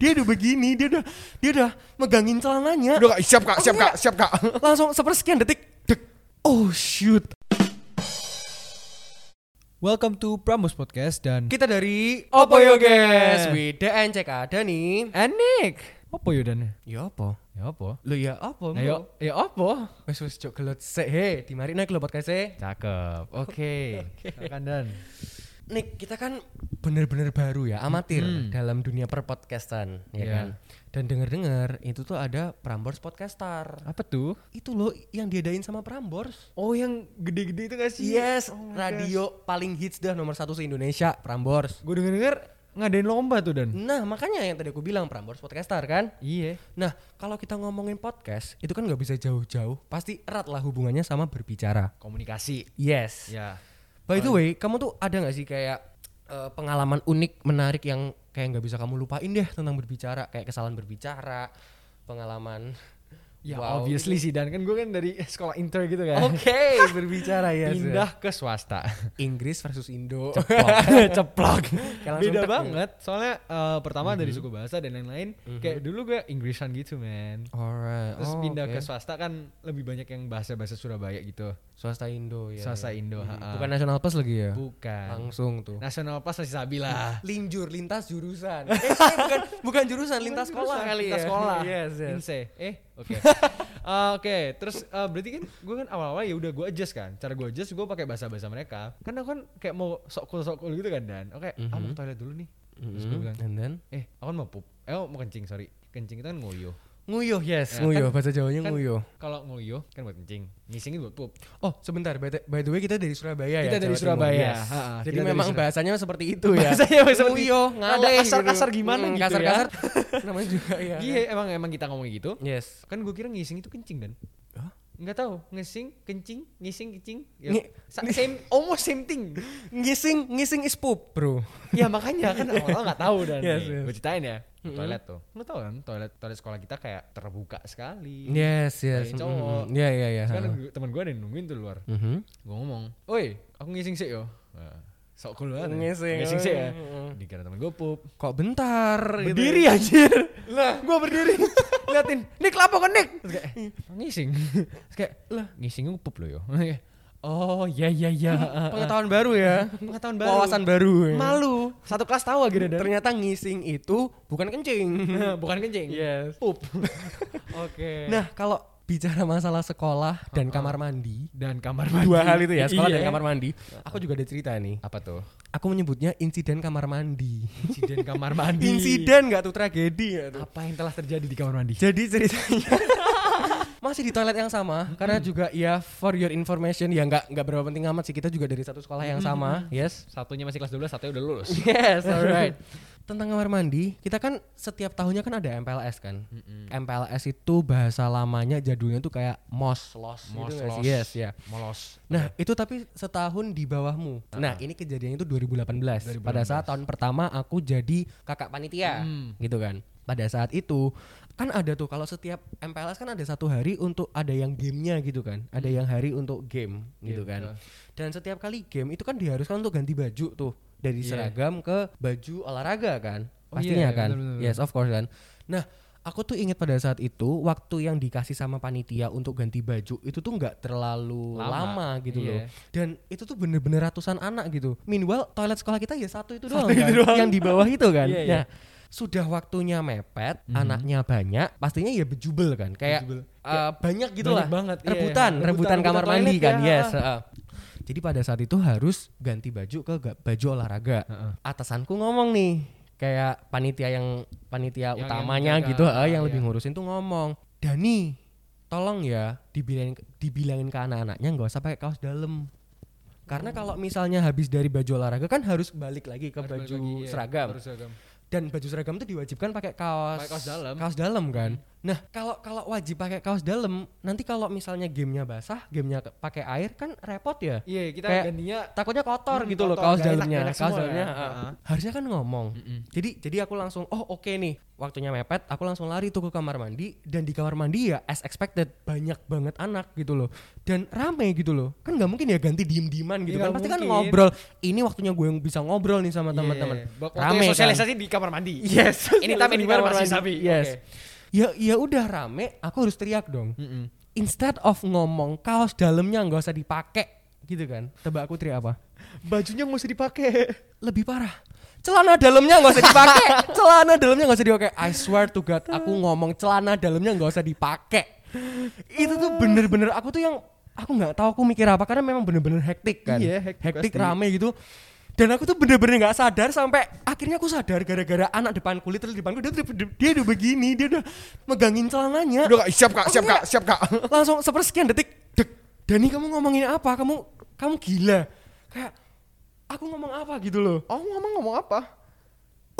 Dia udah begini, dia udah dia udah megangin celananya. Udah kak, siap kak, Oh, siap kak, enggak. siap kak. Langsung sepersekian detik. Dek. Oh shoot. Welcome to Prambors Podcast dan Kita dari Opo Opo Yo Yoges Guys. with the NCK Dani. Anik. Apa yo dan? Ya apa? Ya apa? Lo ya apa? Nah, yo, ya apa? Wes wes cok gelut sik he, dimarikna ke podcast e. Cakep. Oke. Silakan dan. Nik, kita kan bener-bener baru ya, amatir Hmm. dalam dunia perpodcastan, ya Iya. kan. Dan denger-dengar itu tuh ada Prambors Podcaster. Apa tuh? Itu loh yang diadain sama Prambors. Oh yang gede-gede itu Oh gak Yes, radio paling hits dah nomor satu se Indonesia, Prambors. Gue denger-denger ngadain lomba tuh dan. Nah, makanya yang tadi aku bilang Prambors Podcaster kan. Iya. Nah, kalau kita ngomongin podcast, itu kan nggak bisa jauh-jauh, pasti erat lah hubungannya sama berbicara. Komunikasi. Yes. Ya. By the way, kamu tuh ada nggak sih kayak eh, pengalaman unik, menarik yang kayak nggak bisa kamu lupain deh tentang berbicara, kayak kesalahan berbicara, pengalaman. Ya Wow. obviously sih dan kan gue kan dari sekolah inter gitu kan. Iya, Oke, berbicara ya. Pindah ke swasta. Inggris versus Indo. Ceplok. Kayak langsung Beda tek, banget. Soalnya eh, pertama dari suku bahasa dan lain-lain. Kayak dulu gue Inggrisan gitu men. Alright. Terus oh, pindah oke. ke swasta kan lebih banyak yang bahasa-bahasa Surabaya gitu. swasta Indo ya. Swasta Indo, Hmm, ha-ha. Bukan national plus lagi ya? Bukan. Langsung tuh. Ah. Nasional pas masih sabi lah. Linjur lintas jurusan. eh, eh, bukan bukan jurusan, lintas sekolah kali lintas ya. sekolah. yes, yes. Inse. Eh, oke. Eh, oke, terus eh, berarti kan gue kan awal-awal ya udah gue adjust kan. Cara gue adjust gue pakai bahasa-bahasa mereka. Kan aku kan kayak mau sok cool sok cool gitu kan dan. Oke, ah mau ke toilet dulu nih. Terus gue Mhm, bilang, And then "Eh, aku kan mau pup. Eh, mau kencing, sorry. Kencing itu kan nguyuh. nguyuh, yes, Ya, nguyuh bahasa Jawanya Kan nguyuh. Kalau nguyuh kan buat kencing. Ngising itu buat pup. Oh sebentar, by the, by the way kita dari Surabaya ya. Kita Jawa dari Timur. Surabaya, Yes. ha, ha, Jadi kita dari memang Surabaya. bahasanya seperti itu ya. Bahasanya seperti- Uyo, ngaleh Kasar-kasar gimana gitu ya. kasar-kasar. Namanya juga ya. kan? Iya, emang emang kita ngomong gitu. Yes. Kan gue kira ngising itu kencing dan. Hah? Nggak tahu, ngising, kencing, ngising, kencing. Ngi- Ya, sa- same, almost same thing. Ngising, ngising is poop, bro. ya makanya kan awal-awal nggak tahu dan Yes, nih, yes. gue ceritain ya toilet tuh lu tau kan toilet toilet sekolah kita kayak terbuka sekali Yes, yes. Dari Mm, cowok. Iya, iya, iya. Terus ha. kan gue- temen gue ada yang nungguin tuh di luar Mhm. gue ngomong oi aku ngising sih yo Nah, sok cool banget ya. Ngising, ngising sih oi. ya Mm. dikira temen gue pup Kok bentar? gitu berdiri ya? anjir lah gue berdiri liatin nik lapo kan nik Terus kayak, ngising Terus kayak lah ngising gue pup lo yo Kayak, oh iya, ya ya ya Pengetahuan baru ya. pengetahuan baru Wawasan baru. ya. malu satu kelas tahu akhirnya dan Ternyata ngising itu bukan kencing. bukan kencing Yes. pup oke Nah, kalau bicara masalah sekolah dan kamar mandi, dan kamar mandi. dua hal itu ya, sekolah dan Iya. kamar mandi. Aku juga ada cerita nih. apa tuh? Aku menyebutnya insiden kamar mandi. Insiden kamar mandi. insiden nggak tuh tragedi ya tuh. apa yang telah terjadi di kamar mandi? Jadi ceritanya masih di toilet yang sama karena juga ya for your information ya nggak nggak berapa penting amat sih kita juga dari satu sekolah yang sama. Yes. Satunya masih kelas 12, satunya udah lulus. Yes, alright. Tentang kamar mandi, kita kan setiap tahunnya kan ada MPLS kan. Hmm. MPLS itu bahasa lamanya jadulnya tuh kayak mos, los, gitu Mos, nggak sih? los. Yes, ya. Molos. Nah, itu tapi setahun di bawahmu. Nah, ini kejadiannya itu 2018. Pada saat tahun pertama aku jadi kakak panitia, Hmm. gitu kan. Pada saat itu kan ada tuh kalau setiap MPLS kan ada satu hari untuk ada yang gamenya gitu kan, ada Hmm. yang hari untuk game gitu Game, kan. Dan setiap kali game itu kan diharuskan untuk ganti baju tuh dari Iya. seragam ke baju olahraga kan, Oh pastinya iya, kan. benar, benar, Yes, of course kan. Nah, aku tuh ingat pada saat itu waktu yang dikasih sama panitia untuk ganti baju itu tuh nggak terlalu Lama. lama, gitu loh. Iya. Dan itu tuh bener-bener ratusan anak gitu. Minimal toilet sekolah kita ya satu itu doang, Satu itu kan? doang. yang di bawah itu kan. Iya, Mhm. Nah, sudah waktunya mepet, anaknya banyak, pastinya ya bejubel kan. Kayak Bejubel. Iya. eh, banyak gitu lah. banyak banget, iya. Rebutan, rebutan, Rebutan- rebutan kamar toilet mandi kan. ya. Yes, heeh. Jadi pada saat itu harus ganti baju ke ga- baju olahraga. Atasanku ngomong nih, kayak panitia yang panitia Yang- utamanya yang jaga, gitu, eh, yang iya. lebih ngurusin tuh ngomong, "Dani, tolong ya dibilangin dibilangin ke anak-anaknya nggak usah pakai kaos dalam." Karena kalau misalnya habis dari baju olahraga kan harus balik lagi ke Harus baju balik lagi, iya. seragam Baru seragam. dan baju seragam itu diwajibkan pakai kaos Pakai kaos dalam. Hmm. kaos dalam kan Nah, kalau kalau wajib pakai kaos dalam, nanti kalau misalnya gamenya basah, gamenya ke- pakai air kan repot ya. Iya, kita Kayak- gantinya Takutnya kotor Hmm, gitu loh kotor, kaos nggak enak, dalamnya. nggak enak Kaos semua ya. dalamnya ah, Heeh. harusnya kan ngomong. Mm-mm. Jadi jadi aku langsung oh oke nih, waktunya mepet, aku langsung lari tuh ke kamar mandi dan di kamar mandi ya as expected banyak banget anak gitu loh. Dan rame gitu loh. Kan nggak mungkin ya ganti diem-dieman gitu Iya, kan. nggak Pasti kan mungkin. ngobrol. Ini waktunya gue yang bisa ngobrol nih sama teman-teman. Iya, waktu Rame kan. sosialisasi di kamar mandi. Yes. Ini tapi di kamar masih mandi. sapi. Yes. Oke. Hmm. Ya ya udah rame, aku harus teriak dong. Mm-mm. Instead of ngomong kaos dalamnya nggak usah dipakai gitu kan. Tebak aku teriak apa? Bajunya nggak usah dipakai. Lebih parah. Celana dalamnya nggak usah dipakai. celana dalamnya nggak usah dipakai. I swear to God, aku Hmm. ngomong celana dalamnya nggak usah dipakai. Itu tuh bener-bener aku tuh yang aku nggak tahu aku mikir apa karena memang bener-bener hektik kan. Iya, hektik hektik pasti. rame gitu. Dan aku tuh bener-bener nggak sadar sampai akhirnya aku sadar gara-gara anak depanku, literally depanku dia, udah- dia udah begini, dia udah megangin celananya Udah kak, siap kak, siap Oke. kak, siap kak. langsung sepersekian detik dek Dani kamu ngomongin apa kamu kamu gila kayak aku ngomong apa gitu loh Oh ngomong ngomong apa?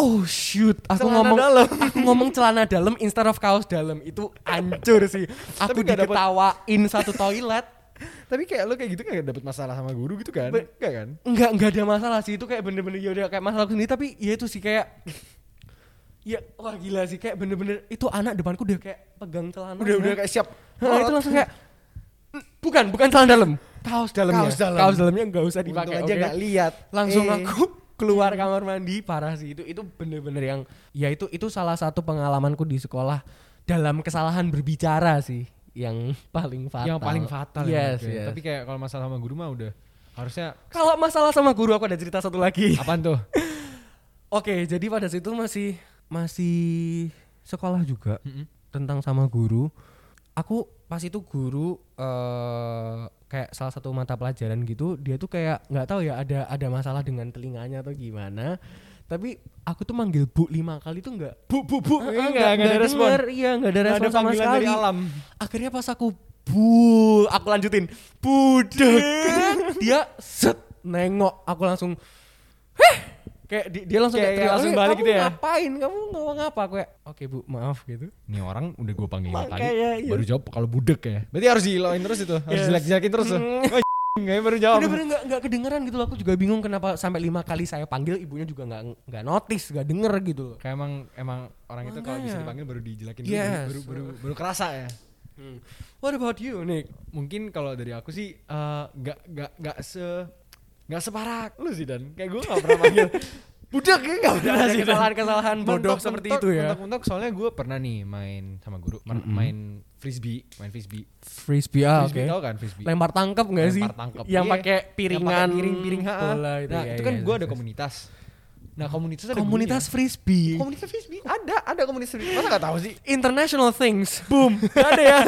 oh shoot aku Celana ngomong dalam. aku ngomong celana dalam instead of kaos dalam itu hancur sih aku Tapi nggak dapet- diketawain satu toilet Tapi kayak lo kayak gitu nggak dapet masalah sama guru gitu kan? Be- Enggak kan? nggak nggak ada masalah sih itu kayak bener-bener ya udah kayak masalah aku sendiri tapi ya itu sih kayak ya wah gila sih kayak bener-bener itu anak depanku udah kayak pegang celana Udah udah kayak siap. Nah, itu langsung kayak "Mm, bukan bukan celana dalam kaos dalamnya Kaos dalam. dalamnya nggak usah Untung dipakai aja oke? nggak lihat. langsung Eh. aku keluar kamar mandi parah sih itu itu bener-bener yang ya itu itu salah satu pengalamanku di sekolah dalam kesalahan berbicara sih yang paling fatal Yang paling fatal. ya, yes, oke. yes. Tapi kayak kalau masalah sama guru mah udah harusnya kalau masalah sama guru aku ada cerita satu lagi apaan tuh? Oke, jadi pada situ masih masih sekolah juga Mm-mm. tentang sama guru. Aku pas itu guru eh kayak salah satu mata pelajaran gitu, dia tuh kayak nggak tahu ya ada ada masalah dengan telinganya atau gimana. Tapi aku tuh manggil bu lima kali tuh nggak Bu bu bu, eh, enggak enggak ada nggak respon. denger, Iya nggak ada Nggak respon ada sama panggilan sekali. dari alam. Akhirnya pas aku bu, aku lanjutin budek. dia set nengok, aku langsung kayak di- dia langsung Kayak- kayak teriak, kayak langsung "Eh, balik kamu gitu ya?" ngapain kamu ngomong apa aku kayak oke bu maaf gitu Nih orang udah gue panggil lima kali, Makanya, iya. baru jawab kalau budek ya. Berarti harus dilain terus itu, harus Yes. jelek-jelekin terus tuh. Hmm. Oh, Kayaknya baru jawab. bener-bener nggak nggak kedengeran gitu loh aku juga bingung kenapa sampai lima kali saya panggil ibunya juga nggak nggak notice nggak denger gitu loh Kayak emang emang orang itu kalau bisa Makanya. dipanggil baru dijelekin dulu, Yes. baru, baru baru baru kerasa ya. what about you Nick Mungkin kalau dari aku sih eh, nggak nggak nggak se nggak separah lu sih dan kayak gue nggak pernah panggil budak ya nggak pernah ada sih Dan. kesalahan-kesalahan bodoh Mentok- seperti mentok- itu ya mentok-mentok soalnya gue pernah nih main sama guru mer- main frisbee main frisbee frisbee ah, oke frisbee tau kan frisbee lempar tangkap nggak sih Lempar tangkep. yang Iya. pakai piringan piring-piring ha. bola itu nah ya, itu ya, kan ya, gue ya. ada komunitas nah komunitas ada komunitas gurunya. frisbee komunitas frisbee ada ada komunitas frisbee masa nggak tahu sih international things boom Nggak ada ya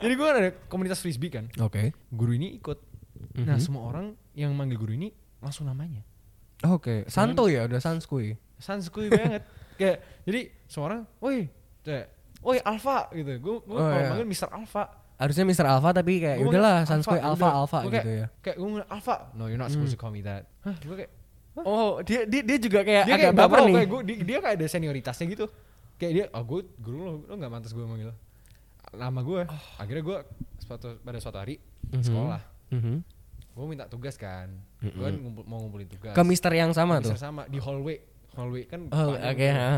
jadi gue ada komunitas frisbee kan oke guru ini ikut nah Mhm. semua orang yang manggil guru ini langsung namanya Oke, santo ya udah sanskui. sanskui banget kayak jadi semua orang woi kayak, woi alfa gitu gue gue Oh, kalau iya. manggil mister alfa Harusnya Mr. Alpha tapi kayak Gua udahlah manggil sanskui Alpha, alpha udah. alpha Gua kayak- gitu ya. kayak gue ngomong alfa no you're not supposed to call me that Hah, gue kayak Oh, dia dia, dia juga kayak dia kayak baper nih. Kayak gua, dia, dia kayak ada senioritasnya gitu. Kayak dia, oh gue guru lo, lo gak mantas gue manggil. Nama gue. Akhirnya gue suatu, pada suatu hari Oh. Mhm. sekolah. Mhm. Gue minta tugas kan. Gue ngumpul, mau ngumpulin tugas. Ke Mister yang sama tuh. Bisa sama di hallway. Hallway kan Oh, panggil oke. tuh. ha.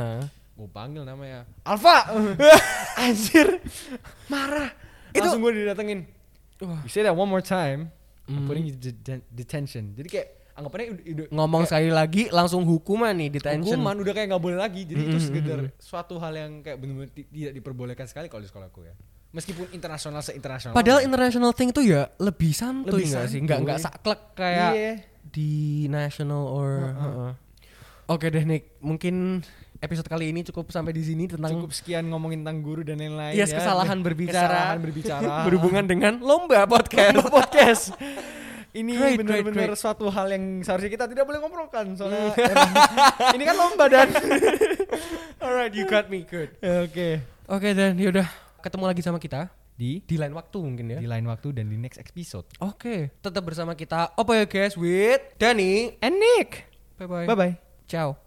Gue panggil namanya. Alfa! Anjir. Marah. Itu- Langsung gue didatengin. Wah. You say that one more time. Mm. I'm putting you de- de- detention. Jadi kayak anggapannya udah, udah- Ngomong sekali lagi langsung hukuman nih detention. Hmm, hukuman udah kayak nggak boleh lagi jadi itu Mm-mm, sekedar suatu hal yang kayak benar-benar ti- tidak diperbolehkan sekali kalau di sekolahku ya meskipun internasional se internasional Padahal international thing tuh ya lebih santuy Lebih enggak sih? santuy. Enggak enggak saklek kayak Iya. di national or ha-ha. Oke deh Nick, mungkin episode kali ini cukup sampai di sini tentang cukup sekian ngomongin tentang guru dan lain-lain ya. Yes, Iya, kesalahan berbicara. kesalahan berbicara berhubungan dengan lomba podcast. podcast. ini Great, benar-benar great, suatu hal yang seharusnya kita tidak boleh ngobrolkan soalnya emang- ini kan lomba dan Alright, you got me good. Ya, oke Oke dan yaudah ketemu lagi sama kita di di lain waktu mungkin ya. di lain waktu dan di next episode Oke, tetap bersama kita. Apa ya guys with Dani and Nick. Bye bye. bye bye Ciao.